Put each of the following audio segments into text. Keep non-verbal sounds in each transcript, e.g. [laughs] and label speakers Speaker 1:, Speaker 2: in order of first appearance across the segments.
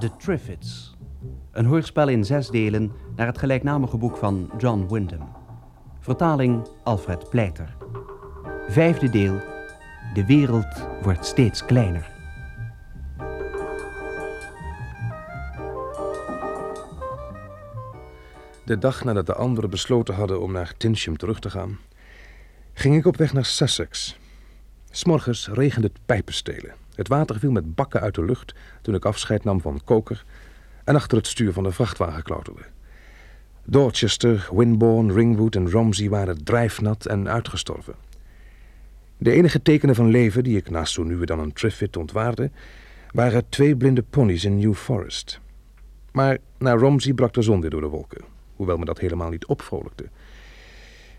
Speaker 1: The Triffids. Een hoorspel in zes delen naar het gelijknamige boek van John Wyndham. Vertaling Alfred Pleiter. Vijfde deel. De wereld wordt steeds kleiner.
Speaker 2: De dag nadat de anderen besloten hadden om naar Tinsham terug te gaan, ging ik op weg naar Sussex. S'morgens regende het pijpenstelen. Het water viel met bakken uit de lucht toen ik afscheid nam van Koker en achter het stuur van de vrachtwagen klauterde. Dorchester, Winborne, Ringwood en Romsey waren drijfnat en uitgestorven. De enige tekenen van leven die ik naast zo nu en dan een triffit ontwaarde, waren twee blinde ponies in New Forest. Maar naar Romsey brak de zon weer door de wolken, hoewel me dat helemaal niet opvrolijkte.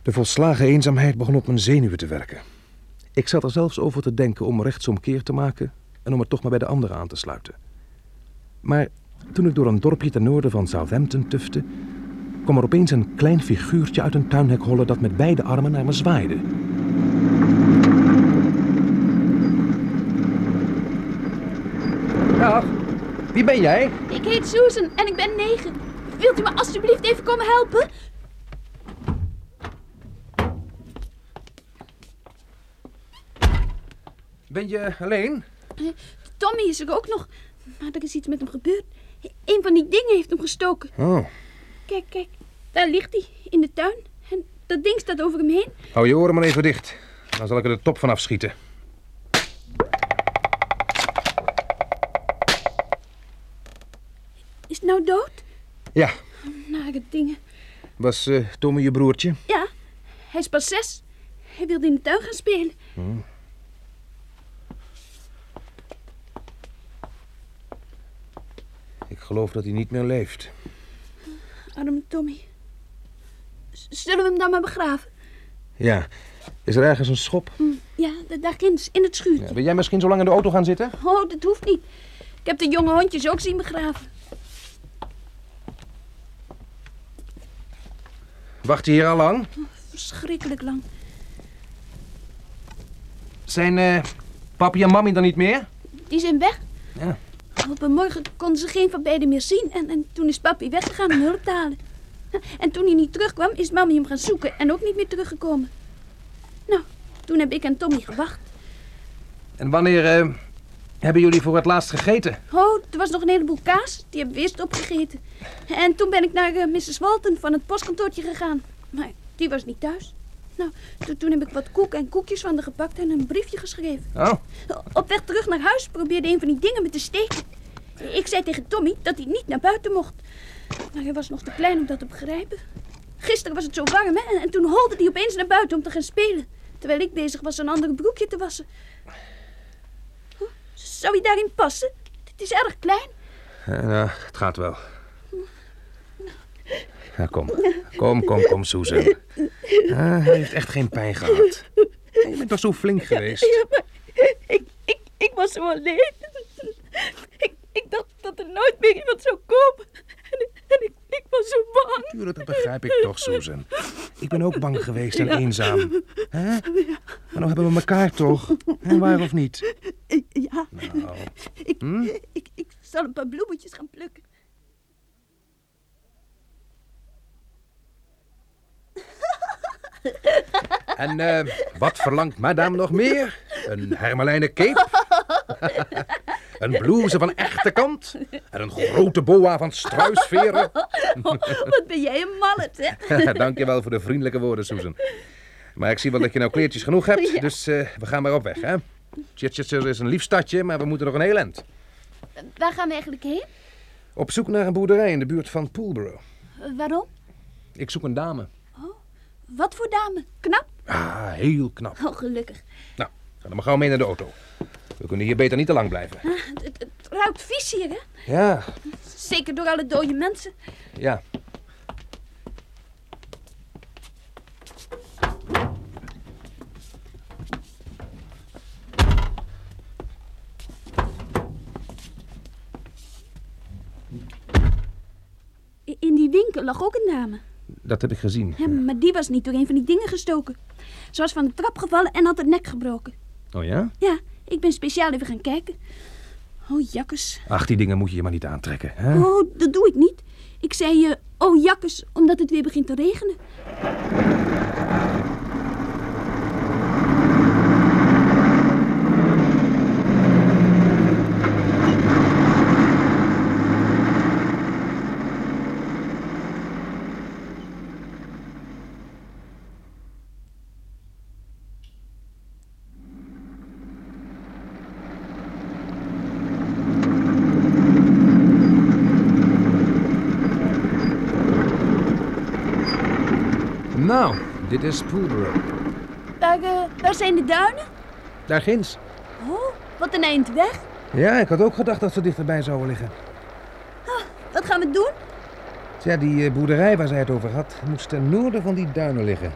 Speaker 2: De volslagen eenzaamheid begon op mijn zenuwen te werken. Ik zat er zelfs over te denken om rechtsomkeer te maken en om er toch maar bij de anderen aan te sluiten. Maar toen ik door een dorpje ten noorden van Southampton tufte, kwam er opeens een klein figuurtje uit een tuinhek hollen dat met beide armen naar me zwaaide. Dag, wie ben jij?
Speaker 3: Ik heet Susan en ik ben negen. Wilt u me alstublieft even komen helpen?
Speaker 2: Ben je alleen?
Speaker 3: Eh, Tommy is er ook nog. Maar er is iets met hem gebeurd. Een van die dingen heeft hem gestoken.
Speaker 2: Oh,
Speaker 3: Kijk, kijk. Daar ligt hij, in de tuin. En dat ding staat over hem heen.
Speaker 2: hou je oren maar even dicht. Dan zal ik er de top van afschieten.
Speaker 3: Is het nou dood?
Speaker 2: Ja,
Speaker 3: Nare dingen.
Speaker 2: was eh, Tommy je broertje?
Speaker 3: Ja, hij is pas zes. Hij wilde in de tuin gaan spelen.
Speaker 2: Ik geloof dat hij niet meer leeft.
Speaker 3: Arme Tommy. Z- Zullen we hem dan maar begraven?
Speaker 2: Ja, is er ergens een schop?
Speaker 3: Ja, da- daarin, in het schuurtje.
Speaker 2: wil jij misschien zo lang in de auto gaan zitten?
Speaker 3: Oh, dat hoeft niet. Ik heb de jonge hondjes ook zien begraven.
Speaker 2: Wacht je hier al lang?
Speaker 3: Verschrikkelijk lang.
Speaker 2: Zijn eh, papi en mami dan niet meer?
Speaker 3: Die zijn weg.
Speaker 2: Ja.
Speaker 3: Op een morgen konden ze geen van beiden meer zien. En, en toen is papi weggegaan om hulp te halen. En toen hij niet terugkwam, is mami hem gaan zoeken en ook niet meer teruggekomen. Nou, toen heb ik en Tommy gewacht.
Speaker 2: En wanneer eh, hebben jullie voor het laatst gegeten?
Speaker 3: Oh, er was nog een heleboel kaas. Die hebben we eerst opgegeten. En toen ben ik naar eh, Mrs. Walton van het postkantoortje gegaan. Maar die was niet thuis. Nou, to- toen heb ik wat koek en koekjes van haar gepakt en een briefje geschreven.
Speaker 2: Oh,
Speaker 3: Op weg terug naar huis probeerde een van die dingen me te steken. Ik zei tegen Tommy dat hij niet naar buiten mocht. Maar hij was nog te klein om dat te begrijpen. Gisteren was het zo warm, hè? en- En toen holde hij opeens naar buiten om te gaan spelen. Terwijl ik bezig was een andere broekje te wassen. Huh? Zou hij daarin passen? Het is erg klein.
Speaker 2: eh, nou, het gaat wel. Ja, kom. Kom, kom, kom, Susan. Ah, hij heeft echt geen pijn gehad. Ja, Je bent toch zo flink geweest.
Speaker 3: Ja, maar ik, ik, ik was zo alleen. Ik, ik dacht dat er nooit meer iemand zou komen. En, en ik, ik was zo bang.
Speaker 2: Tuurlijk, dat begrijp ik toch, Susan. Ik ben ook bang geweest en eenzaam. Hè? Maar nou hebben we elkaar toch? En waar of niet?
Speaker 3: Ik- Eh, Ja,
Speaker 2: Nou,
Speaker 3: [laughs] ik, eh, ik, ik zal een paar bloemetjes gaan plukken. [laughs]
Speaker 2: En eh, wat verlangt madame nog meer? Een hermelijnen cape? een blouse van echte kant? En een grote boa van struisveren? [laughs]
Speaker 3: Oh, Wat ben jij een mallet, hè?
Speaker 2: Dank je wel voor de vriendelijke woorden, Susan. Maar ik zie wel dat je nou kleertjes genoeg hebt, dus eh, we gaan maar op weg, hè? Chichester is een lief stadje, maar we moeten nog een heel eind.
Speaker 3: Waar gaan we eigenlijk heen?
Speaker 2: Op zoek naar een boerderij in de buurt van Poolborough.
Speaker 3: Eh, Waarom?
Speaker 2: Ik zoek een dame.
Speaker 3: Wat voor dame? Knap?
Speaker 2: Ah, heel knap.
Speaker 3: Oh, gelukkig.
Speaker 2: Nou, ga dan maar gauw mee naar de auto. We kunnen hier beter niet te lang blijven.
Speaker 3: Ah, Het, het ruikt vies hier, hè?
Speaker 2: Ja,
Speaker 3: Zeker door alle dode mensen.
Speaker 2: ja.
Speaker 3: I- In die winkel lag ook een dame.
Speaker 2: Dat heb ik gezien.
Speaker 3: Hè, maar die was niet door een van die dingen gestoken. Ze was van de trap gevallen en had het nek gebroken.
Speaker 2: Oh ja?
Speaker 3: Ja, ik ben speciaal even gaan kijken. Oh, jakkes.
Speaker 2: Ach, die dingen moet je je maar niet aantrekken, hè?
Speaker 3: Oh, dat doe ik niet. Ik zei je, oh jakkes, omdat het weer begint te regenen.
Speaker 2: Nou, dit is Poolborough.
Speaker 3: Waar, eh, waar zijn de duinen?
Speaker 2: Daar ginds.
Speaker 3: Oh, wat een eind weg.
Speaker 2: Ja, ik had ook gedacht dat ze dichterbij zouden liggen.
Speaker 3: Wat gaan we doen?
Speaker 2: Tja, die eh, boerderij waar zij het over had, moest ten noorden van die duinen liggen.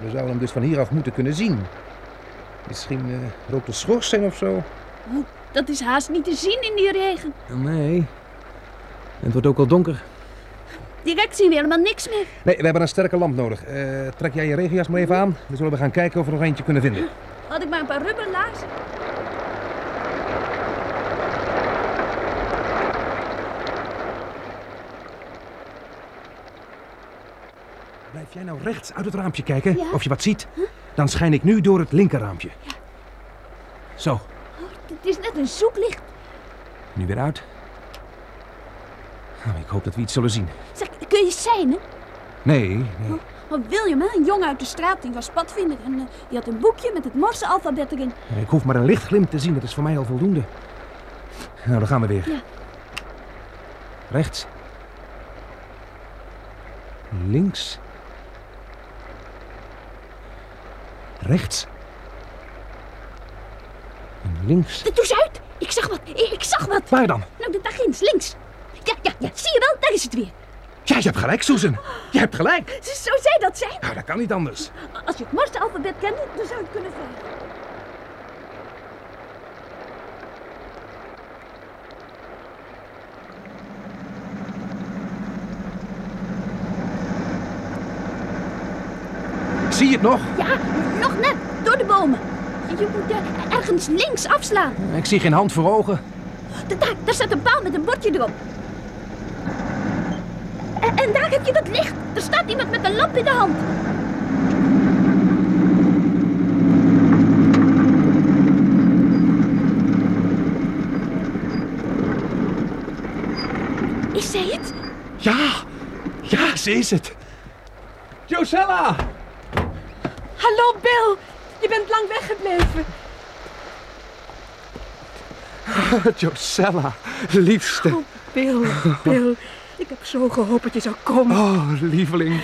Speaker 2: We zouden hem dus van hieraf moeten kunnen zien. Misschien eh loopt de schoorsteen of zo.
Speaker 3: Dat is haast niet te zien in die regen.
Speaker 2: Nee. het wordt ook al donker.
Speaker 3: Direct zien we helemaal niks meer.
Speaker 2: Nee, we hebben een sterke lamp nodig. Eh, trek jij je regenjas maar even aan. Dan zullen we gaan kijken of we er nog eentje kunnen vinden.
Speaker 3: Had ik maar een paar rubberlaarzen.
Speaker 2: Blijf jij nou rechts uit het raampje kijken
Speaker 3: Ja.
Speaker 2: of je wat ziet? Dan schijn ik nu door het linkerraampje. Zo,
Speaker 3: Oh, het is net een zoeklicht.
Speaker 2: nu weer uit. Nou, ik hoop dat we iets zullen zien.
Speaker 3: Zeg, kun je zijn, hè?
Speaker 2: Nee, nee.
Speaker 3: Want William, hè, een jongen uit de straat, die was padvinder. En eh, die had een boekje met het Morse alfabet erin.
Speaker 2: Eh, Ik hoef maar een lichtglimp te zien, dat is voor mij al voldoende. Nou, dan gaan we weer.
Speaker 3: Ja.
Speaker 2: Rechts. Links. Rechts. En links.
Speaker 3: Dat doe ze uit. Ik zag wat. Ik, ik zag wat.
Speaker 2: Waar dan?
Speaker 3: Nou, dat daar ginds, links. Ja, ja, ja. Zie je wel? Daar is het weer.
Speaker 2: Ja, je hebt gelijk, Susan. Je hebt gelijk.
Speaker 3: Zo zou zij dat zijn.
Speaker 2: Nou, dat kan niet anders.
Speaker 3: Als je het Morse alfabet kende, dan zou je het kunnen vragen.
Speaker 2: Zie je het nog?
Speaker 3: Ja, nog net. Door de bomen. Je moet eh, ergens links afslaan.
Speaker 2: Ik zie geen hand voor ogen.
Speaker 3: Da- Daar, daar staat een paal met een bordje erop. En, en daar heb je dat licht. Er staat iemand met een lamp in de hand. Is zij het?
Speaker 2: Ja, ja, ze is het. Josella!
Speaker 4: Hallo Bill, je bent lang weggebleven.
Speaker 2: Josella, liefste.
Speaker 4: Oh Bill, [laughs] Bill, ik heb zo gehoopt dat je zou komen.
Speaker 2: Oh, lieveling.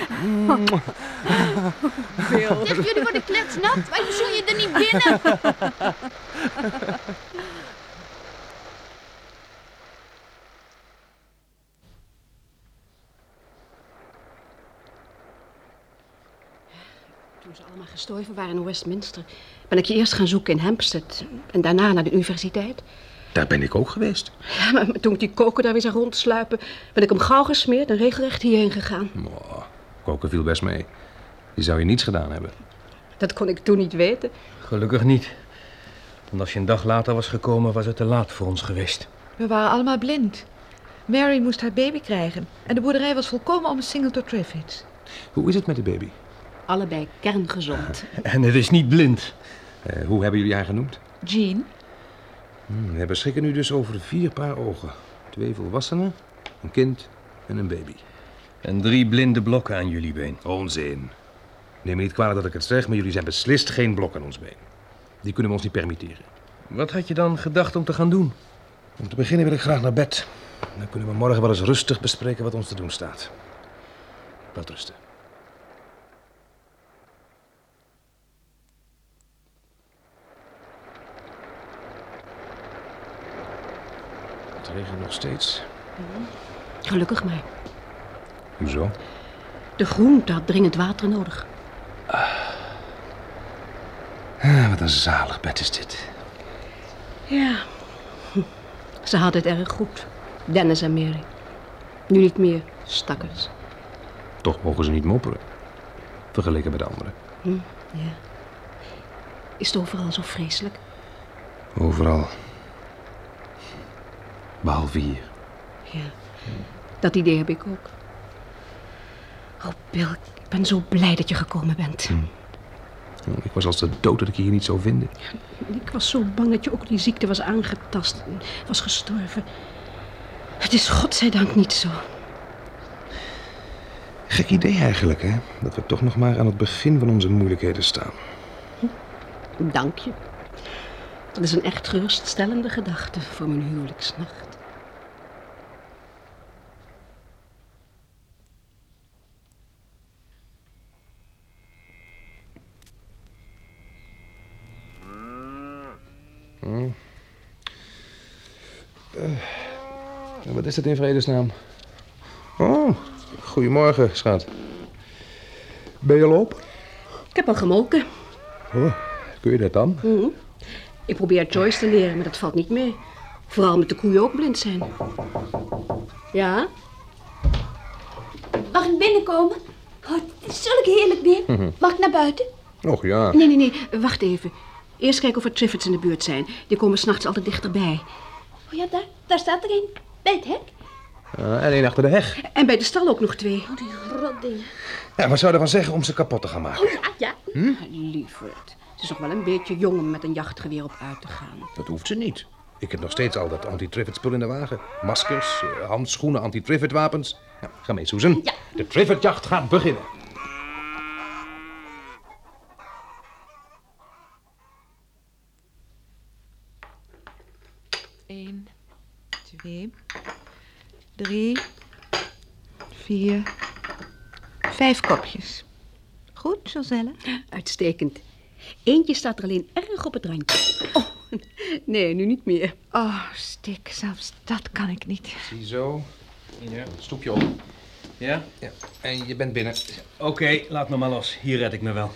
Speaker 4: Bill.
Speaker 3: Zeg, jullie worden kletsnat. Wij zullen je er niet binnen.
Speaker 5: Toen ze allemaal gestorven waren in Westminster, ben ik je eerst gaan zoeken in Hampstead en daarna naar de universiteit.
Speaker 2: Daar ben ik ook geweest.
Speaker 5: Ja, maar toen ik die koken daar weer zag rondsluipen, ben ik hem gauw gesmeerd en regelrecht hierheen gegaan.
Speaker 2: Hm. Koken viel best mee. Je zou je niets gedaan hebben.
Speaker 5: Dat kon ik toen niet weten.
Speaker 6: Gelukkig niet. Want als je een dag later was gekomen, was het te laat voor ons geweest.
Speaker 7: We waren allemaal blind. Mary moest haar baby krijgen en de boerderij was volkomen omsingeld door Triffids.
Speaker 2: Hoe is het met de baby?
Speaker 5: Allebei kerngezond.
Speaker 6: En het is niet blind.
Speaker 2: Eh, hoe hebben jullie haar genoemd?
Speaker 7: Jean,
Speaker 2: we beschikken nu dus over vier paar ogen. Twee volwassenen, een kind en een baby.
Speaker 6: En drie blinde blokken aan jullie been.
Speaker 2: Onzin. Neem me niet kwalijk dat ik het zeg, maar jullie zijn beslist geen blok aan ons been. Die kunnen we ons niet permitteren.
Speaker 6: Wat had je dan gedacht om te gaan doen?
Speaker 2: Om te beginnen wil ik graag naar bed. Dan kunnen we morgen wel eens rustig bespreken wat ons te doen staat. Wat rusten. Het regent nog steeds.
Speaker 5: Gelukkig maar.
Speaker 2: Hoezo?
Speaker 5: De groente had dringend water nodig.
Speaker 2: Ah, wat een zalig bed is dit.
Speaker 5: Ja. Hm. Ze hadden het erg goed. Dennis en Mary. Nu niet meer, stakkers.
Speaker 2: Toch mogen ze niet mopperen. Vergeleken met de anderen.
Speaker 5: Ja. Is het overal zo vreselijk?
Speaker 2: Overal. Behalve hier.
Speaker 5: Ja, dat idee heb ik ook. Oh, Bill, ik ben zo blij dat je gekomen bent.
Speaker 2: Oh, Ik was als de dood dat ik je hier niet zou vinden.
Speaker 5: Ik was zo bang dat je ook die ziekte was aangetast en was gestorven. Het is godzijdank niet zo.
Speaker 2: Gek idee eigenlijk, hè? Dat we toch nog maar aan het begin van onze moeilijkheden staan.
Speaker 5: Dank je. Dat is een echt geruststellende gedachte voor mijn huwelijksnacht.
Speaker 2: En wat is dat in vredesnaam? Oh, goedemorgen, schat. Ben je al op?
Speaker 5: Ik heb al gemolken.
Speaker 2: Kun je dat dan?
Speaker 5: Ik probeer Joyce te leren, maar dat valt niet mee. Vooral omdat de koeien ook blind zijn. Ja?
Speaker 3: Mag ik binnenkomen? Oh, het is zulk heerlijk weer. Mag ik naar buiten?
Speaker 2: Och ja.
Speaker 5: Nee, nee, nee. Wacht even. Eerst kijken of er Triffids in de buurt zijn. Die komen s'nachts altijd dichterbij.
Speaker 3: Oh ja, daar, daar staat er een. Bij het hek.
Speaker 2: Eh, en één achter de heg.
Speaker 5: En bij de stal ook nog twee.
Speaker 3: Oh, die rot dingen.
Speaker 2: Ja, wat zou je ervan zeggen om ze kapot te gaan maken?
Speaker 3: Ja, ja.
Speaker 5: Lieverd. Het is nog wel een beetje jong om met een jachtgeweer op uit te gaan.
Speaker 2: Dat hoeft ze niet. Ik heb nog steeds al dat anti-trivet spul in de wagen. Maskers, eh, handschoenen, anti-trivet wapens. Nou, ga mee, Susan.
Speaker 3: Ja.
Speaker 2: De trivetjacht gaat beginnen.
Speaker 7: Eén, twee, drie, vier, vijf kopjes. Goed, Joselle?
Speaker 5: Uitstekend. Eentje staat er alleen erg op het randje. Oh, [laughs] nee, nu niet meer.
Speaker 7: Oh, stik, zelfs dat kan ik niet.
Speaker 2: Ziezo,
Speaker 6: Ja.
Speaker 2: stoepje op.
Speaker 6: Ja?
Speaker 2: Ja. En je bent binnen.
Speaker 6: Oké, laat me maar los. Hier red ik me wel.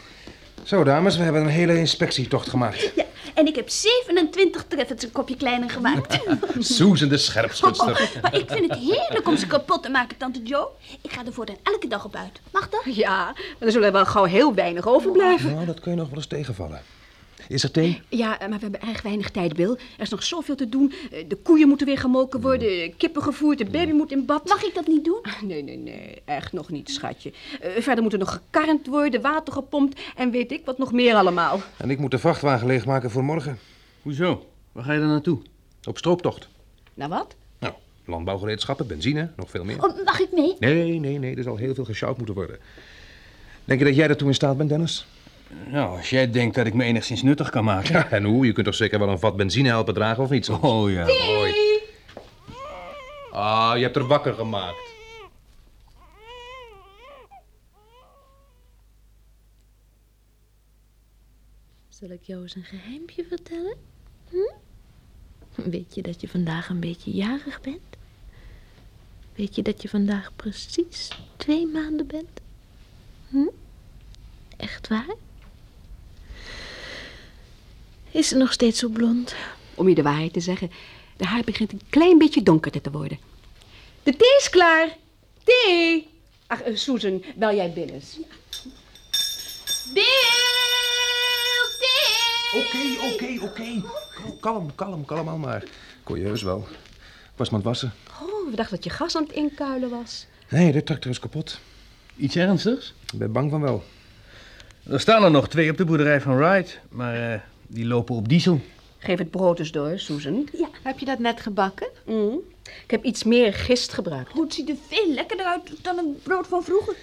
Speaker 2: Zo, dames, we hebben een hele inspectietocht gemaakt.
Speaker 3: ja. En ik heb 27 treffers een kopje kleiner
Speaker 2: [laughs]
Speaker 3: gemaakt. Oh,
Speaker 2: Susan de scherpschutster.
Speaker 3: Maar ik vind het heerlijk om ze kapot te maken, tante Jo. Ik ga er voortaan elke dag op uit. Mag dat?
Speaker 5: Ja, maar dan zullen er wel gauw heel weinig overblijven.
Speaker 2: Nou, dat kun je nog wel eens tegenvallen. Is er thee?
Speaker 5: Ja, eh, maar we hebben erg weinig tijd, Bill. Er is nog zoveel te doen. Eh, De koeien moeten weer gemolken worden, eh, kippen gevoerd, de baby moet in bad.
Speaker 3: Mag ik dat niet doen?
Speaker 5: [laughs] Nee, nee, nee, echt nog niet, schatje. Eh, verder moet er nog gekarnd worden, water gepompt en weet ik wat nog meer allemaal.
Speaker 2: En ik moet de vrachtwagen leegmaken voor morgen.
Speaker 6: Hoezo? Waar ga je dan naartoe?
Speaker 2: Op strooptocht.
Speaker 5: Nou wat?
Speaker 2: Nou, landbouwgereedschappen, benzine, nog veel meer.
Speaker 3: Oh, mag ik mee?
Speaker 2: Nee, nee, nee, er zal heel veel gesjouwd moeten worden. Denk je dat jij daartoe in staat bent, Dennis?
Speaker 6: Nou, als jij denkt dat ik me enigszins nuttig kan maken.
Speaker 2: Ja, en hoe? Je kunt toch zeker wel een vat benzine helpen dragen of niet? zo?
Speaker 6: Oh ja.
Speaker 2: Mooi. Ah, je hebt er wakker gemaakt.
Speaker 8: Zal ik jou eens een geheimpje vertellen? Hm? Weet je dat je vandaag een beetje jarig bent? Weet je dat je vandaag precies twee maanden bent? Hm? Echt waar? Is ze nog steeds zo blond?
Speaker 5: Om je de waarheid te zeggen, de haar begint een klein beetje donkerder te worden. De thee is klaar. Thee! Ach, eh, Susan, bel jij binnen.
Speaker 2: Oké, oké, oké. Kalm, kalm, kalm al maar. Kon je heus wel. Ik was maar aan het wassen.
Speaker 5: Oh, we dachten dat je gas aan het inkuilen was.
Speaker 2: Nee, de tractor is kapot.
Speaker 6: Iets ernstigs?
Speaker 2: Ik ben bang van wel.
Speaker 6: Er staan er nog twee op de boerderij van Wright, maar eh, die lopen op diesel.
Speaker 5: Geef het brood eens door, Susan.
Speaker 7: Heb je dat net gebakken?
Speaker 5: Mm. Ik heb iets meer gist gebruikt.
Speaker 3: Oh, het ziet er veel lekkerder uit dan het brood van vroeger.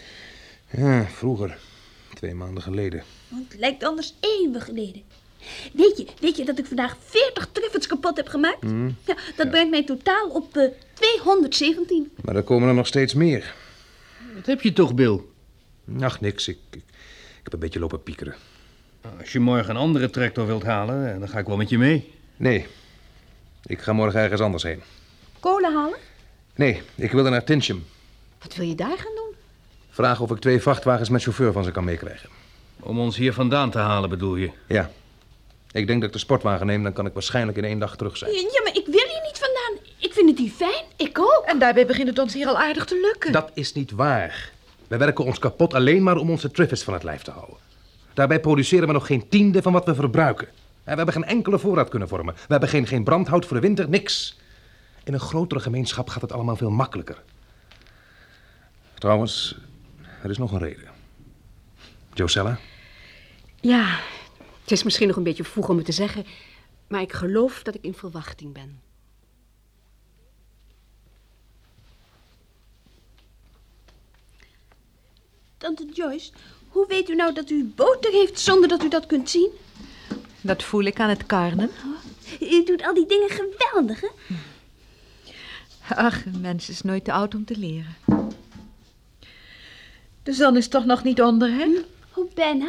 Speaker 2: Ja, vroeger. Twee maanden geleden.
Speaker 3: Want het lijkt anders eeuwen geleden. Weet je, weet je dat ik vandaag 40 treffers kapot heb gemaakt? Ja, dat brengt mij totaal op eh, 217.
Speaker 2: Maar er komen er nog steeds meer.
Speaker 6: Wat heb je toch, Bill?
Speaker 2: Ach, niks. Ik, ik, ik heb een beetje lopen piekeren.
Speaker 6: Nou, Als je morgen een andere tractor wilt halen, eh, dan ga ik wel met je mee.
Speaker 2: Nee. Ik ga morgen ergens anders heen.
Speaker 3: Kolen halen?
Speaker 2: Nee, ik wilde naar Tincham.
Speaker 5: Wat wil je daar gaan doen?
Speaker 2: Vragen of ik twee vrachtwagens met chauffeur van ze kan meekrijgen.
Speaker 6: Om ons hier vandaan te halen, bedoel je?
Speaker 2: Ja. Ik denk dat ik de sportwagen neem, dan kan ik waarschijnlijk in één dag terug zijn.
Speaker 3: Ja, maar ik wil hier niet vandaan. Ik vind het hier fijn. Ik ook.
Speaker 7: En daarbij begint het ons hier al aardig te lukken.
Speaker 2: Dat is niet waar. We werken ons kapot alleen maar om onze triffers van het lijf te houden. Daarbij produceren we nog geen tiende van wat we verbruiken. En we hebben geen enkele voorraad kunnen vormen. We hebben geen, geen brandhout voor de winter, niks. In een grotere gemeenschap gaat het allemaal veel makkelijker. Trouwens, er is nog een reden. Josella,
Speaker 5: Ja, het is misschien nog een beetje vroeg om het te zeggen, maar ik geloof dat ik in verwachting ben.
Speaker 3: Tante Joyce, hoe weet u nou dat u boter heeft zonder dat u dat kunt zien?
Speaker 7: Dat voel ik aan het karnen.
Speaker 3: U doet al die dingen geweldig, hè?
Speaker 7: Ach, een mens is nooit te oud om te leren. De zon is toch nog niet onder, hè?
Speaker 3: Hoe bijna?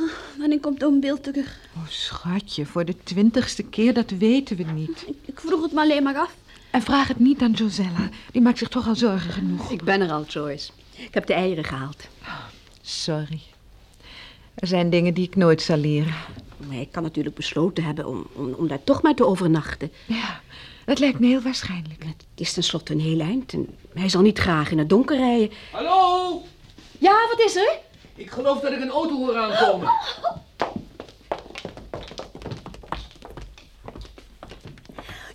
Speaker 3: Oh, wanneer komt oom Bill terug?
Speaker 7: Oh, schatje, voor de twintigste keer, dat weten we niet.
Speaker 3: Ik, ik vroeg het maar alleen maar af.
Speaker 7: En vraag het niet aan Josella. Die maakt zich toch al zorgen genoeg.
Speaker 5: Ik ben er al, Joyce. Ik heb de eieren gehaald.
Speaker 7: Sorry. Er zijn dingen die ik nooit zal leren.
Speaker 5: Maar ik kan natuurlijk besloten hebben om, om, om daar toch maar te overnachten.
Speaker 7: Ja, dat lijkt me heel waarschijnlijk.
Speaker 5: Het is tenslotte een heel eind en hij zal niet graag in het donker rijden.
Speaker 9: Hallo!
Speaker 5: Ja, wat is er?
Speaker 9: Ik geloof dat ik een auto hoor aankomen.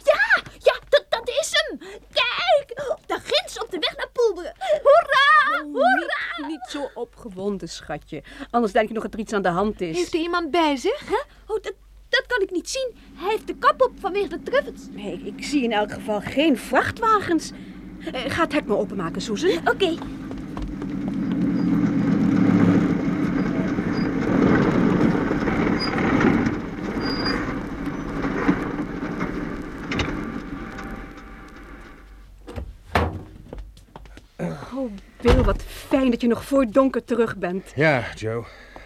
Speaker 3: Ja, ja, dat, dat is hem. Kijk, daar ginds op de weg naar Poelberen. Hoera, hoera.
Speaker 5: Niet, niet zo opgewonden, schatje. Anders denk ik nog dat er iets aan de hand is.
Speaker 7: Heeft hij iemand bij zich?
Speaker 3: Oh, dat, dat kan ik niet zien. Hij heeft de kap op vanwege de truffels.
Speaker 5: Nee, ik, ik zie in elk geval geen vrachtwagens. Eh, ga het hek maar openmaken, Susan.
Speaker 3: Oké,
Speaker 5: Wil, wat fijn dat je nog voor donker terug bent.
Speaker 2: Ja, Joe.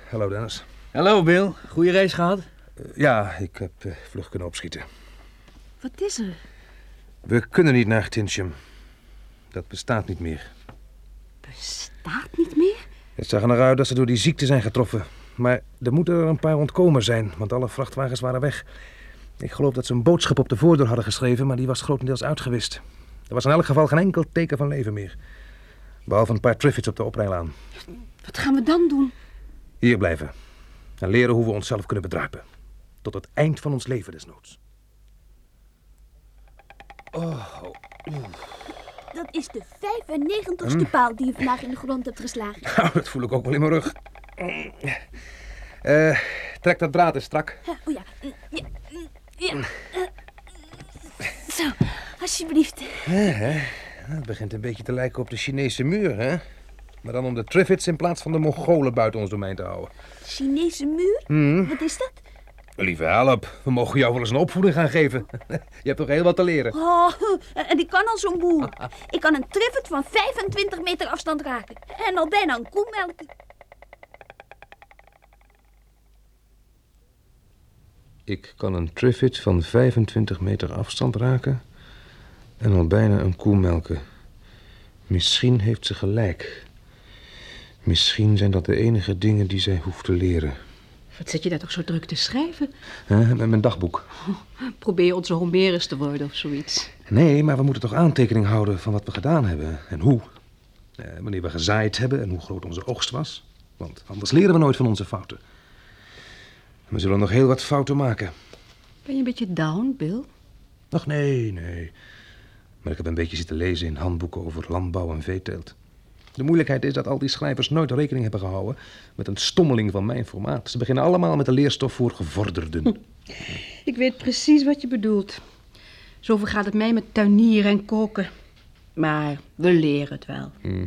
Speaker 2: Hallo, Dennis.
Speaker 6: Hallo Bill, goede reis gehad?
Speaker 2: Eh, ja, ik heb eh, vlug kunnen opschieten.
Speaker 5: Wat is er?
Speaker 2: We kunnen niet naar Tinsham. Dat bestaat niet meer.
Speaker 5: Bestaat niet meer?
Speaker 2: Het zag er naar uit dat ze door die ziekte zijn getroffen. Maar er moeten er een paar ontkomen zijn, want alle vrachtwagens waren weg. Ik geloof dat ze een boodschap op de voordeur hadden geschreven, maar die was grotendeels uitgewist. Er was in elk geval geen enkel teken van leven meer. Behalve een paar triffits op de oprijlaan.
Speaker 5: Wat gaan we dan doen?
Speaker 2: Hier blijven. En leren hoe we onszelf kunnen bedruipen. Tot het eind van ons leven desnoods.
Speaker 3: dat is de 95ste paal die je vandaag in de grond hebt geslagen.
Speaker 2: [laughs] Nou, dat voel ik ook wel in mijn rug. Eh, trek dat draad eens strak.
Speaker 3: Ja, Oh ja. ja. hm, ja. eh, Zo, alsjeblieft.
Speaker 2: Het begint een beetje te lijken op de Chinese muur, hè? Maar dan om de Triffids in plaats van de Mongolen buiten ons domein te houden.
Speaker 3: Chinese muur? Wat is dat?
Speaker 2: Lieve help, we mogen jou wel eens een opvoeding gaan geven. [laughs] Je hebt toch heel wat te leren.
Speaker 3: Oh, [laughs] en ik kan al zo'n boel. Ik kan een triffet van 25 meter afstand raken. En al bijna een koe melken.
Speaker 2: Ik kan een Triffid van 25 meter afstand raken en al bijna een koe melken. Misschien heeft ze gelijk. Misschien zijn dat de enige dingen die zij hoeft te leren.
Speaker 5: Wat zit je daar toch zo druk te schrijven?
Speaker 2: Hè, Met mijn dagboek.
Speaker 5: Probeer onze Homerus te worden of zoiets.
Speaker 2: Nee, maar we moeten toch aantekening houden van wat we gedaan hebben en hoe. Eh, wanneer we gezaaid hebben en hoe groot onze oogst was. Want anders leren we nooit van onze fouten. We zullen nog heel wat fouten maken.
Speaker 5: Ben je een beetje down, Bill?
Speaker 2: Ach nee, nee. Maar ik heb een beetje zitten lezen in handboeken over landbouw en veeteelt. De moeilijkheid is dat al die schrijvers nooit rekening hebben gehouden met een stommeling van mijn formaat. Ze beginnen allemaal met de leerstof voor gevorderden.
Speaker 5: Ik weet precies wat je bedoelt. Zo vergaat het mij met tuinieren en koken. Maar we leren het wel.
Speaker 2: Hm.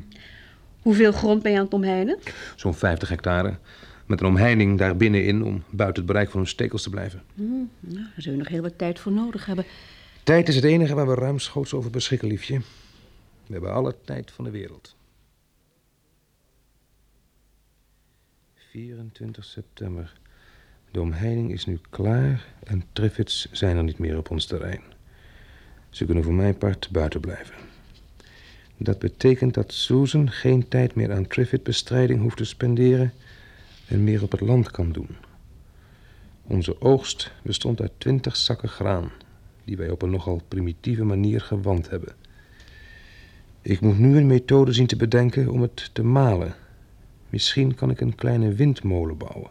Speaker 5: Hoeveel grond ben je aan het omheinden?
Speaker 2: Zo'n 50 hectare. Met een omheining daar binnenin om buiten het bereik van hun stekels te blijven.
Speaker 5: Nou, daar zullen we nog heel wat tijd voor nodig hebben.
Speaker 2: Tijd is het enige waar we ruimschoots over beschikken, liefje. We hebben alle tijd van de wereld. 24 september. De omheining is nu klaar en Triffids zijn er niet meer op ons terrein. Ze kunnen voor mijn part buiten blijven. Dat betekent dat Susan geen tijd meer aan Triffid-bestrijding hoeft te spenderen en meer op het land kan doen. Onze oogst bestond uit 20 zakken graan die wij op een nogal primitieve manier gewand hebben. Ik moet nu een methode zien te bedenken om het te malen. Misschien kan ik een kleine windmolen bouwen.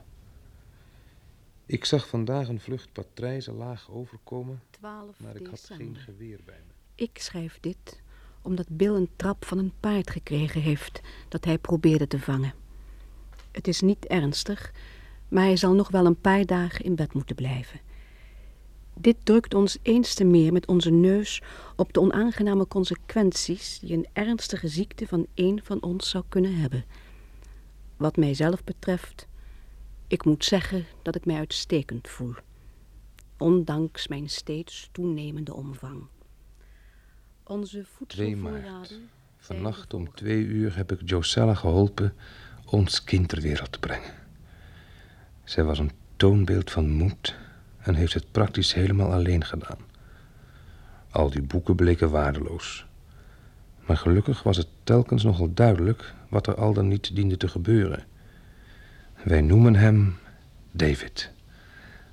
Speaker 2: Ik zag vandaag een vlucht patrijzen laag overkomen,
Speaker 10: 12
Speaker 2: maar ik had geen
Speaker 10: december.
Speaker 2: geweer bij me.
Speaker 10: Ik schrijf dit omdat Bill een trap van een paard gekregen heeft dat hij probeerde te vangen. Het is niet ernstig, maar hij zal nog wel een paar dagen in bed moeten blijven. Dit drukt ons eens te meer met onze neus op de onaangename consequenties die een ernstige ziekte van een van ons zou kunnen hebben. Wat mijzelf betreft, ik moet zeggen dat ik mij uitstekend voel, ondanks mijn steeds toenemende omvang. Onze
Speaker 2: 2 maart.
Speaker 10: voedselvoorraden
Speaker 2: Vannacht om twee uur heb ik Josella geholpen ons kind ter wereld te brengen. Zij was een toonbeeld van moed en heeft het praktisch helemaal alleen gedaan. Al die boeken bleken waardeloos. Maar gelukkig was het telkens nogal duidelijk wat er al dan niet diende te gebeuren. Wij noemen hem David.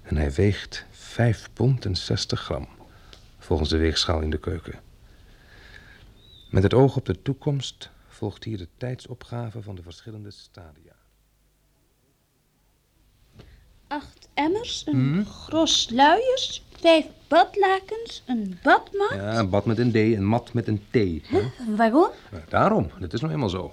Speaker 2: En hij weegt 5 pond en 60 gram, volgens de weegschaal in de keuken. Met het oog op de toekomst volgt hier de tijdsopgave van de verschillende stadia.
Speaker 3: Acht emmers, een
Speaker 2: Hmm?
Speaker 3: gros luiers, vijf badlakens, een badmat.
Speaker 2: Ja, een bad met een D, een mat met een T. hè?
Speaker 3: Waarom?
Speaker 2: Daarom, dat is nou eenmaal zo.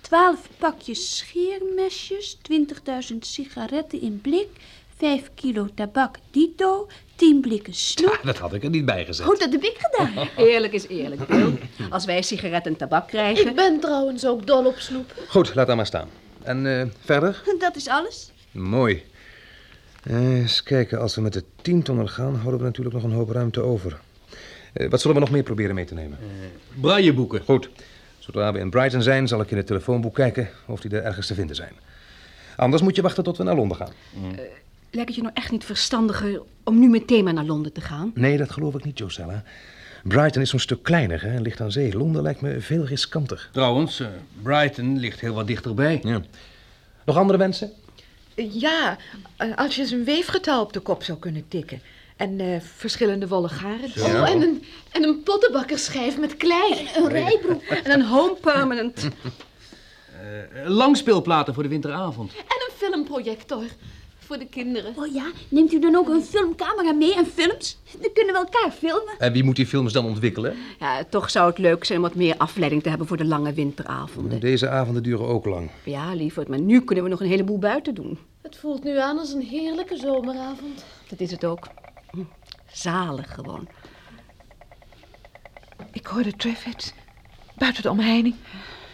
Speaker 3: Twaalf pakjes scheermesjes, 20.000 sigaretten in blik, vijf kilo tabak dito, tien blikken snoep.
Speaker 6: Dat had ik er niet bij gezet.
Speaker 3: Goed, dat heb ik gedaan.
Speaker 5: Eerlijk is eerlijk, Bill. Als wij sigaretten en tabak krijgen...
Speaker 7: Ik ben trouwens ook dol op snoep.
Speaker 2: Goed, laat dat maar staan. En eh, verder?
Speaker 3: [laughs] Dat is alles.
Speaker 2: Mooi. Eh, eens kijken, als we met de tientonner gaan, houden we natuurlijk nog een hoop ruimte over. Eh, wat zullen we nog meer proberen mee te nemen? Brailleboeken. Goed. Zodra we in Brighton zijn, zal ik in het telefoonboek kijken of die er ergens te vinden zijn. Anders moet je wachten tot we naar Londen gaan.
Speaker 5: Lijkt het je nou echt niet verstandiger om nu meteen maar naar Londen te gaan?
Speaker 2: Nee, dat geloof ik niet, Josella. Brighton is zo'n stuk kleiner hè, en ligt aan zee. Londen lijkt me veel riskanter.
Speaker 6: Trouwens, eh, Brighton ligt heel wat dichterbij.
Speaker 2: Ja. Nog andere wensen?
Speaker 7: Ja, eh, als je eens een weefgetouw op de kop zou kunnen tikken. En eh, verschillende wollen garen.
Speaker 2: Zo. Oh, en
Speaker 7: een, en een pottenbakkerschijf met klei.
Speaker 5: Een
Speaker 7: [laughs]
Speaker 5: rijbroek en een home permanent.
Speaker 6: Eh, langspeelplaten voor de winteravond.
Speaker 3: En een filmprojector voor de kinderen. Oh ja, neemt u dan ook een filmcamera mee en films? Dan kunnen we elkaar filmen.
Speaker 2: En wie moet die films dan ontwikkelen?
Speaker 5: Ja, toch zou het leuk zijn om wat meer afleiding te hebben voor de lange winteravonden.
Speaker 2: Deze avonden duren ook lang.
Speaker 5: Ja, lieverd, maar nu kunnen we nog een heleboel buiten doen.
Speaker 7: Het voelt nu aan als een heerlijke zomeravond.
Speaker 5: Dat is het ook. Hm, Zalig gewoon.
Speaker 7: Ik hoorde Trafford buiten de omheining.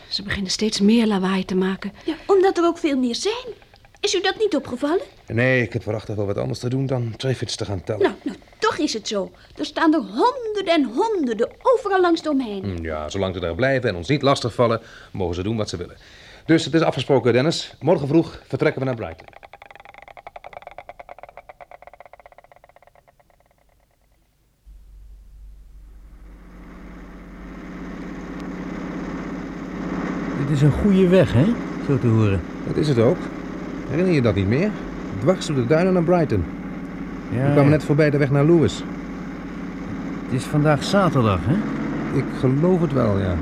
Speaker 5: Ze beginnen steeds meer lawaai te maken.
Speaker 3: Ja, omdat er ook veel meer zijn. Is u dat niet opgevallen?
Speaker 2: Nee, ik heb voorachtig wel wat anders te doen dan treffids te gaan tellen.
Speaker 3: Nou, nou, toch is het zo. Er staan er honderden en honderden overal langs de omheining.
Speaker 2: Hm, Ja, zolang ze daar blijven en ons niet lastigvallen, mogen ze doen wat ze willen. Dus het is afgesproken, Dennis. Morgen vroeg vertrekken we naar Brighton.
Speaker 11: Dit is een goede weg, hè? Zo te horen.
Speaker 2: Dat is het ook. Herinner je dat niet meer? Dwars door de duinen naar Brighton.
Speaker 11: Ja,
Speaker 2: we kwamen net voorbij de weg naar Lewis.
Speaker 11: Het is vandaag zaterdag, hè?
Speaker 2: Ik geloof het wel, ja.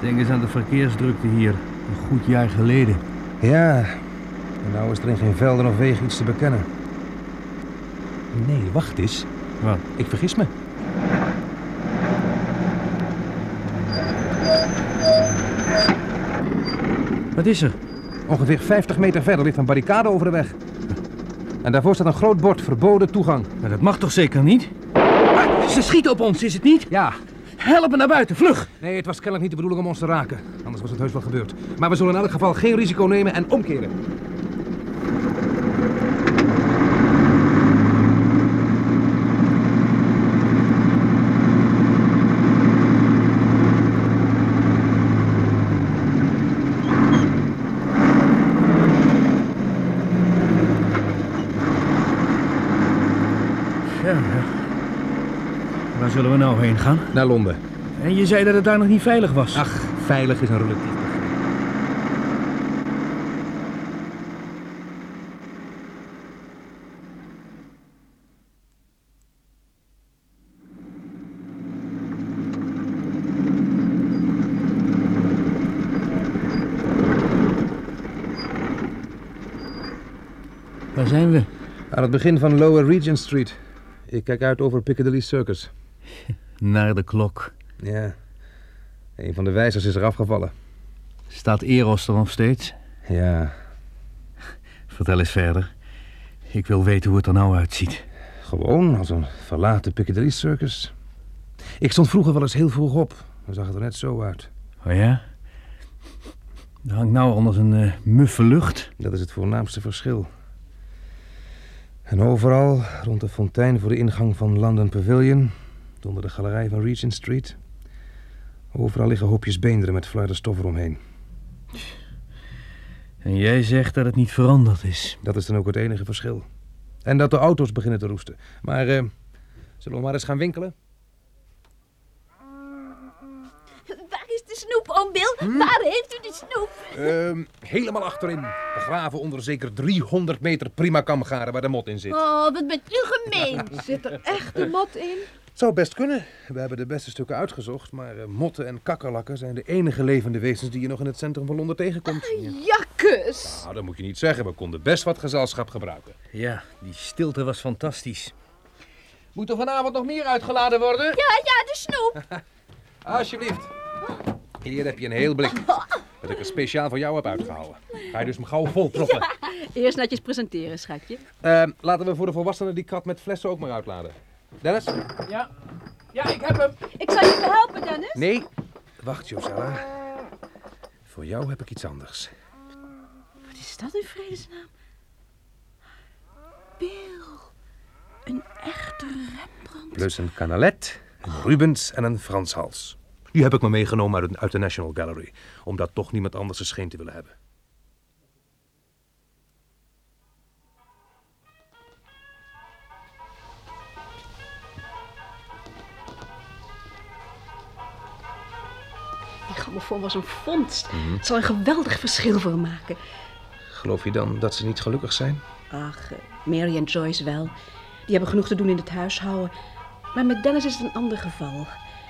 Speaker 11: Denk eens aan de verkeersdrukte hier. Een goed jaar geleden.
Speaker 2: Ja, en nou is er in geen velden of wegen iets te bekennen. Nee, wacht eens.
Speaker 11: Wat?
Speaker 2: Ik vergis me.
Speaker 11: Wat is er?
Speaker 2: Ongeveer 50 meter verder ligt een barricade over de weg. En daarvoor staat een groot bord, verboden toegang.
Speaker 11: Maar dat mag toch zeker niet? Ah, ze schieten op ons, is het niet?
Speaker 2: Ja.
Speaker 11: Help me naar buiten, vlug!
Speaker 2: Nee, het was kennelijk niet de bedoeling om ons te raken. Anders was het heus wel gebeurd. Maar we zullen in elk geval geen risico nemen en omkeren.
Speaker 11: Ja, ja. Waar zullen we nou heen gaan? Ah.
Speaker 2: Naar Londen.
Speaker 11: En je zei dat het daar nog niet veilig was.
Speaker 2: Ach, veilig is een relatief. begrip.
Speaker 11: zijn we?
Speaker 2: Aan het begin van Lower Regent Street. Ik kijk uit over Piccadilly Circus.
Speaker 11: Naar de klok.
Speaker 2: Ja. Een van de wijzers is er afgevallen.
Speaker 11: Staat Eros er nog steeds?
Speaker 2: Ja.
Speaker 11: Vertel eens verder. Ik wil weten hoe het er nou uitziet.
Speaker 2: Gewoon als een verlaten Piccadilly Circus. Ik stond vroeger wel eens heel vroeg op. Dan zag het er net zo uit.
Speaker 11: Oh ja? Er hangt nou anders een eh, muffe lucht.
Speaker 2: Dat is het voornaamste verschil. En overal, rond de fontein voor de ingang van London Pavilion, onder de galerij van Regent Street, overal liggen hoopjes beenderen met fluide stof eromheen.
Speaker 11: En jij zegt dat het niet veranderd is.
Speaker 2: Dat is dan ook het enige verschil. En dat de auto's beginnen te roesten. Maar eh, zullen we maar eens gaan winkelen?
Speaker 3: Waar is de snoep, oom Bill? Waar heeft u de snoep?
Speaker 2: Ehm, helemaal achterin, begraven onder zeker 300 meter prima kamgaren waar de mot in zit.
Speaker 3: Oh, wat bent u gemeen.
Speaker 7: Zit er echt een mot in?
Speaker 2: Zou best kunnen. We hebben de beste stukken uitgezocht, maar eh, motten en kakkerlakken zijn de enige levende wezens die je nog in het centrum van Londen tegenkomt.
Speaker 7: Jakkes!
Speaker 2: Nou, dat moet je niet zeggen. We konden best wat gezelschap gebruiken.
Speaker 11: Ja, die stilte was fantastisch.
Speaker 9: Moet er vanavond nog meer uitgeladen worden?
Speaker 3: Ja, ja, de snoep.
Speaker 2: Alsjeblieft. Hier heb je een heel blik. Dat ik er speciaal voor jou heb uitgehouden. Ga je dus hem gauw vol proppen.
Speaker 5: Eerst netjes presenteren, schatje.
Speaker 2: Eh, laten we voor de volwassenen die krat met flessen ook maar uitladen. Dennis?
Speaker 9: Ja. Ja, ik heb hem.
Speaker 4: Ik zal je helpen, Dennis.
Speaker 2: Nee. Wacht, Josella. Voor jou heb ik iets anders.
Speaker 5: Wat is dat in vredesnaam? Bill. Een echte Rembrandt.
Speaker 2: Plus een canalet, een Rubens en een Frans hals. Die heb ik me meegenomen uit, uit de National Gallery. Omdat toch niemand anders een scheen te willen hebben.
Speaker 5: Die grammofoon was een vondst. Het zal een geweldig verschil voor hem maken.
Speaker 2: Geloof je dan dat ze niet gelukkig zijn?
Speaker 5: Ach, eh, Mary en Joyce wel. Die hebben genoeg te doen in het huishouden. Maar met Dennis is het een ander geval.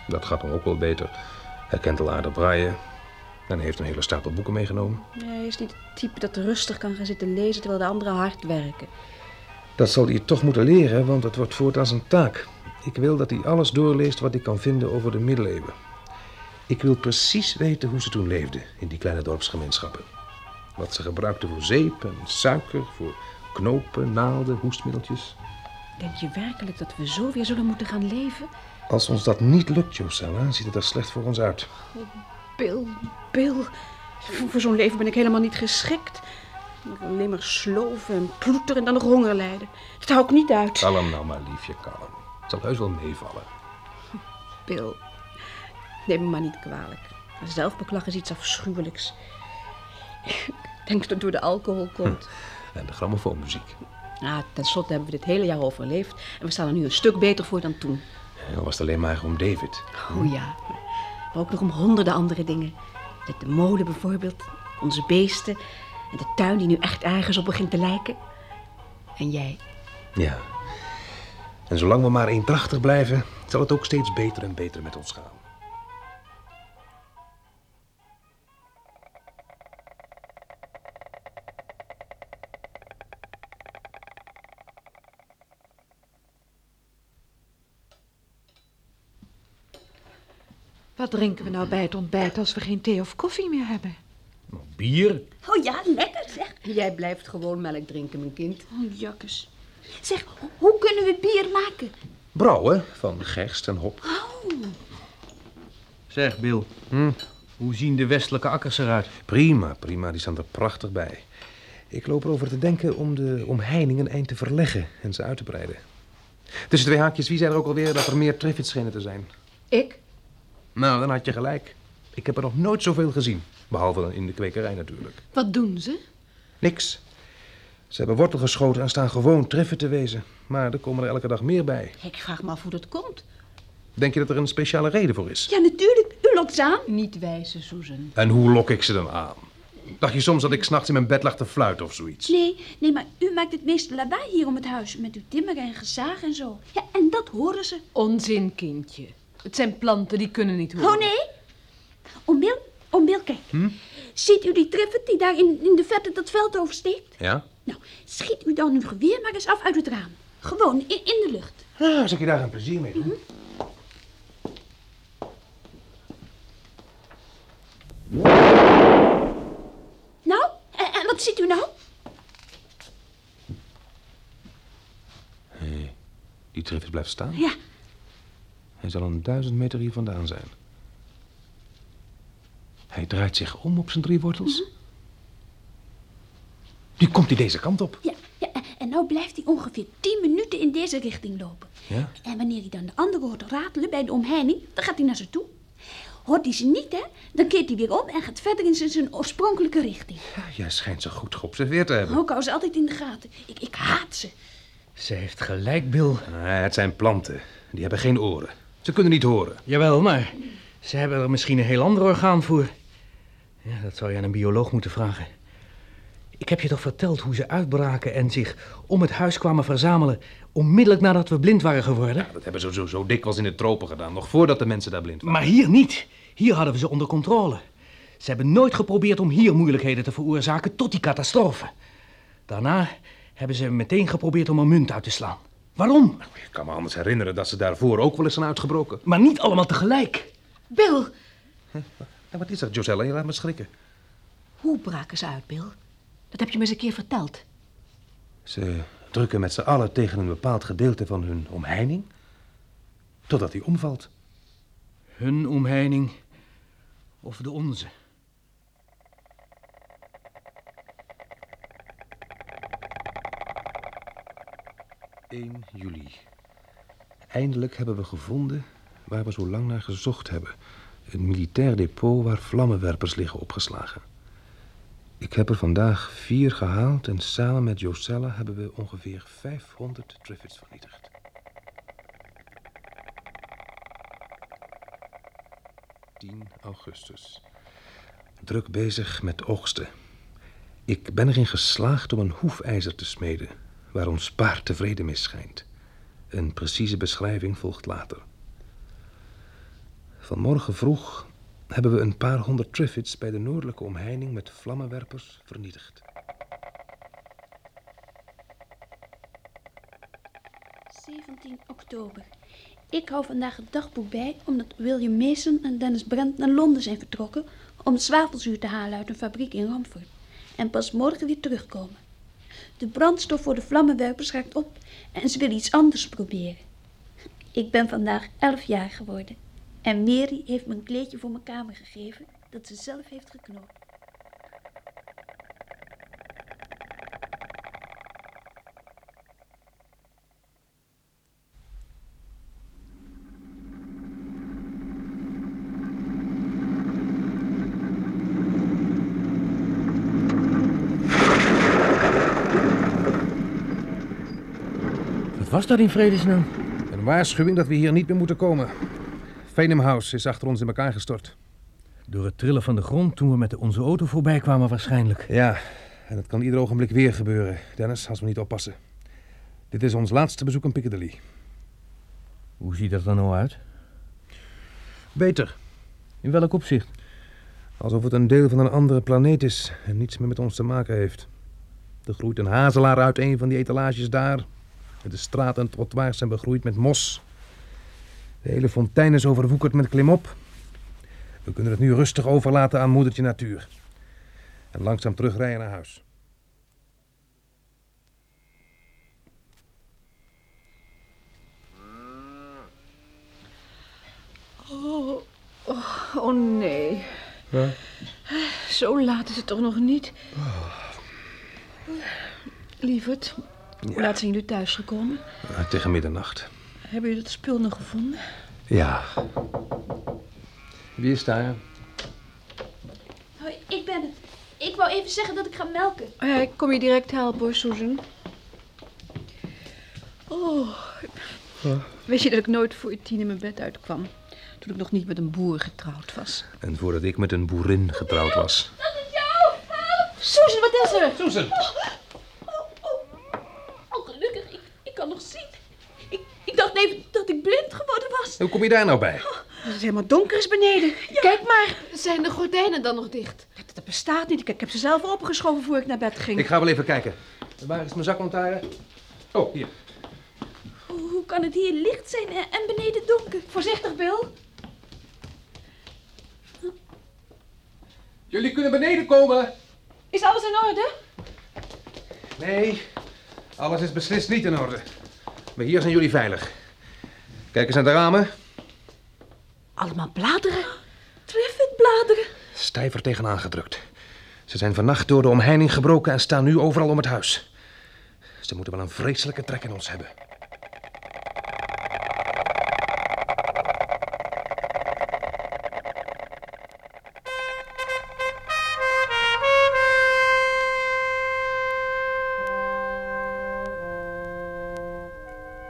Speaker 2: Dat gaat hem ook wel beter. Hij kent al aardig braaien. En hij heeft een hele stapel boeken meegenomen.
Speaker 5: Hij is niet het type dat rustig kan gaan zitten lezen terwijl de anderen hard werken.
Speaker 2: Dat zal hij toch moeten leren, want het wordt voortaan zijn taak. Ik wil dat hij alles doorleest wat hij kan vinden over de middeleeuwen. Ik wil precies weten hoe ze toen leefden in die kleine dorpsgemeenschappen. Wat ze gebruikten voor zeep en suiker, voor knopen, naalden, hoestmiddeltjes.
Speaker 5: Denk je werkelijk dat we zo weer zullen moeten gaan leven?
Speaker 2: Als ons dat niet lukt, Josella, ziet het er slecht voor ons uit.
Speaker 5: Bill, Bill. Voor- Voor zo'n leven ben ik helemaal niet geschikt. Ik wil Alleen maar sloven en ploeteren en dan nog honger lijden. Dat hou ik niet uit.
Speaker 2: Kalm nou maar, liefje, kalm. Het zal heus wel meevallen.
Speaker 5: Bill, neem me maar niet kwalijk. Zelfbeklag is iets afschuwelijks. Ik denk dat het door de alcohol komt.
Speaker 2: En de grammofoonmuziek.
Speaker 5: Nou, Ten slotte hebben we dit hele jaar overleefd. En we staan er nu een stuk beter voor dan toen.
Speaker 2: Dan was het alleen maar om David.
Speaker 5: Oh ja, maar ook nog om honderden andere dingen. De, de molen bijvoorbeeld, onze beesten... en de tuin die nu echt ergens op begint te lijken. En jij,
Speaker 2: Ja. En zolang we maar eendrachtig blijven, zal het ook steeds beter en beter met ons gaan.
Speaker 7: Wat drinken we nou bij het ontbijt als we geen thee of koffie meer hebben?
Speaker 6: Bier?
Speaker 3: Oh ja, lekker zeg.
Speaker 5: Jij blijft gewoon melk drinken, mijn kind.
Speaker 3: Oh, jakkes. Zeg, hoe kunnen we bier maken?
Speaker 2: Brouwen van gerst en hop.
Speaker 6: Zeg, Bill.
Speaker 11: Hm?
Speaker 6: Hoe zien de westelijke akkers eruit?
Speaker 2: Prima, prima. Die staan er prachtig bij. Ik loop erover te denken om de omheining een eind te verleggen en ze uit te breiden. Tussen twee haakjes, wie zei er ook alweer dat er meer treffits schenen te zijn?
Speaker 5: Ik?
Speaker 2: Nou, dan had je gelijk. Ik heb er nog nooit zoveel gezien. Behalve dan in de kwekerij natuurlijk.
Speaker 7: Wat doen ze?
Speaker 2: Niks. Ze hebben wortel geschoten en staan gewoon treffen te wezen. Maar er komen er elke dag meer bij.
Speaker 5: Ik vraag me af hoe dat komt.
Speaker 2: Denk je dat er een speciale reden voor is?
Speaker 3: Ja, natuurlijk. U lokt ze aan.
Speaker 5: Niet wijze, Susan.
Speaker 2: En hoe lok ik ze dan aan? Dacht je soms dat ik s'nachts in mijn bed lag te fluiten of zoiets?
Speaker 3: Nee, nee, maar u maakt het meeste lawaai hier om het huis. Met uw timmer en gezaag en zo. Ja, en dat horen ze.
Speaker 4: Onzin, kindje. Het zijn planten, die kunnen niet horen.
Speaker 3: Oh nee? Oom Bill, oom Bill, kijk. Ziet u die triffet die daar in, in de verte dat veld oversteekt?
Speaker 2: Ja?
Speaker 3: Nou, schiet u dan uw geweer maar eens af uit het raam. Gewoon, in, in de lucht.
Speaker 2: Nou, als ik je daar een plezier mee doe.
Speaker 3: Nou, en, en wat ziet u nou?
Speaker 2: Hé, die drift blijft staan.
Speaker 3: Ja.
Speaker 2: Hij zal een duizend meter hier vandaan zijn. Hij draait zich om op zijn drie wortels. Nu komt hij deze kant op.
Speaker 3: En nou blijft hij ongeveer 10 minuten in deze richting lopen.
Speaker 2: Ja?
Speaker 3: En wanneer hij dan de anderen hoort ratelen bij de omheining, dan gaat hij naar ze toe. Hoort hij ze niet, hè? Dan keert hij weer om en gaat verder in zijn- zijn oorspronkelijke richting.
Speaker 2: Jij schijnt ze goed geobserveerd te hebben.
Speaker 3: Ook hou ze altijd in de gaten. Ik, ik haat ze.
Speaker 6: Ze heeft gelijk, Bill.
Speaker 2: Ah, het zijn planten. Die hebben geen oren. Ze kunnen niet horen.
Speaker 6: Jawel, maar ze hebben er misschien een heel ander orgaan voor. Ja, dat zou je aan een bioloog moeten vragen. Ik heb je toch verteld hoe ze uitbraken en zich om het huis kwamen verzamelen... onmiddellijk nadat we blind waren geworden?
Speaker 2: Dat hebben ze zo, zo dikwijls in de tropen gedaan, nog voordat de mensen daar blind waren.
Speaker 6: Maar hier niet. Hier hadden we ze onder controle. Ze hebben nooit geprobeerd om hier moeilijkheden te veroorzaken tot die catastrofe. Daarna hebben ze meteen geprobeerd om een munt uit te slaan. Waarom?
Speaker 2: Ik kan me anders herinneren dat ze daarvoor ook wel eens zijn uitgebroken.
Speaker 6: Maar niet allemaal tegelijk.
Speaker 5: Bill,
Speaker 2: Ja, wat is dat, Josella? Je laat me schrikken.
Speaker 5: hoe braken ze uit, Bill? Dat heb je me eens een keer verteld.
Speaker 2: Ze drukken met z'n allen tegen een bepaald gedeelte van hun omheining, totdat die omvalt.
Speaker 6: Hun omheining of de onze.
Speaker 2: juli. Eindelijk hebben we gevonden waar we zo lang naar gezocht hebben. Een militair depot waar vlammenwerpers liggen opgeslagen. Ik heb er vandaag vier gehaald en samen met Josella hebben we ongeveer 500 Triffids vernietigd. augustus. Druk bezig met oogsten. Ik ben erin geslaagd om een hoefijzer te smeden, waar ons paard tevreden mee schijnt. Een precieze beschrijving volgt later. Vanmorgen vroeg hebben we een paar honderd Triffids bij de noordelijke omheining met vlammenwerpers vernietigd.
Speaker 3: 17 oktober. Ik hou vandaag het dagboek bij omdat William Mason en Dennis Brent naar Londen zijn vertrokken om zwavelzuur te halen uit een fabriek in Ramford en pas morgen weer terugkomen. De brandstof voor de vlammenwerpers raakt op en ze willen iets anders proberen. Ik ben vandaag 11 jaar geworden en Mary heeft me een kleedje voor mijn kamer gegeven dat ze zelf heeft geknoopt.
Speaker 2: Wat was dat in vredesnaam? Een waarschuwing dat we hier niet meer moeten komen. Venham House is achter ons in elkaar gestort.
Speaker 6: Door het trillen van de grond toen we met onze auto voorbij kwamen waarschijnlijk.
Speaker 2: Ja, en dat kan ieder ogenblik weer gebeuren, Dennis, als we niet oppassen. Dit is ons laatste bezoek aan Piccadilly.
Speaker 6: Hoe ziet dat er nou uit?
Speaker 2: Beter.
Speaker 6: In welk opzicht?
Speaker 2: Alsof het een deel van een andere planeet is en niets meer met ons te maken heeft. Er groeit een hazelaar uit een van die etalages daar. De straten en trottoirs zijn begroeid met mos. De hele fontein is overwoekerd met klimop. We kunnen het nu rustig overlaten aan moedertje natuur. En langzaam terugrijden naar huis.
Speaker 5: Oh, oh, oh nee. Zo laat is het toch nog niet? Lieverd, hoe laat zijn jullie thuisgekomen?
Speaker 2: Eh, Tegen middernacht.
Speaker 5: Hebben jullie dat spul nog gevonden?
Speaker 2: Ja. Wie is daar?
Speaker 3: Hoi, ik ben het. Ik wou even zeggen dat ik ga melken.
Speaker 5: Oh ja, ik kom je direct helpen hoor, Susan. Oh, weet je dat ik nooit voor tien in mijn bed uitkwam? Toen ik nog niet met een boer getrouwd was.
Speaker 2: En voordat ik met een boerin getrouwd was.
Speaker 5: Susan, wat is er?
Speaker 2: Susan!
Speaker 3: Oh, gelukkig. Ik, ik kan nog zien. Ik, ik dacht even dat ik blind geworden was.
Speaker 2: Hoe kom je daar nou bij?
Speaker 5: Het is helemaal donker is beneden. Kijk maar,
Speaker 7: Zijn de gordijnen dan nog dicht?
Speaker 5: dat bestaat niet. Ik ik heb ze zelf opengeschoven voor ik naar bed ging.
Speaker 2: Ik ga wel even kijken. Waar is mijn zaklantaarn? Oh, hier.
Speaker 3: Hoe, hoe kan het hier licht zijn en, en beneden donker? Voorzichtig, Bill.
Speaker 9: Jullie kunnen beneden komen.
Speaker 4: Is alles in orde?
Speaker 2: Nee, alles is beslist niet in orde. Maar hier zijn jullie veilig. Kijk eens naar de ramen.
Speaker 4: Allemaal bladeren. Treffend bladeren.
Speaker 2: Stijver tegenaan gedrukt. Ze zijn vannacht door de omheining gebroken en staan nu overal om het huis. Ze moeten wel een vreselijke trek in ons hebben.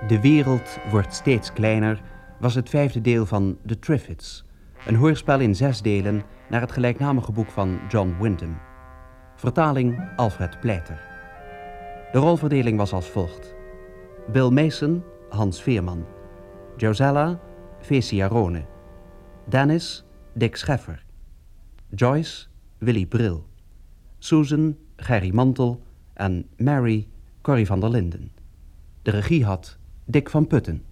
Speaker 1: De wereld wordt steeds kleiner was het vijfde deel van The Triffids, een hoorspel in zes delen naar het gelijknamige boek van John Wyndham. Vertaling Alfred Pleiter. De rolverdeling was als volgt: Bill Mason, Hans Veerman, Josella, Fesi Arone, Dennis, Dick Scheffer, Joyce, Willy Bril, Susan, Gerry Mantel en Mary, Corrie van der Linden. De regie had Dick van Putten.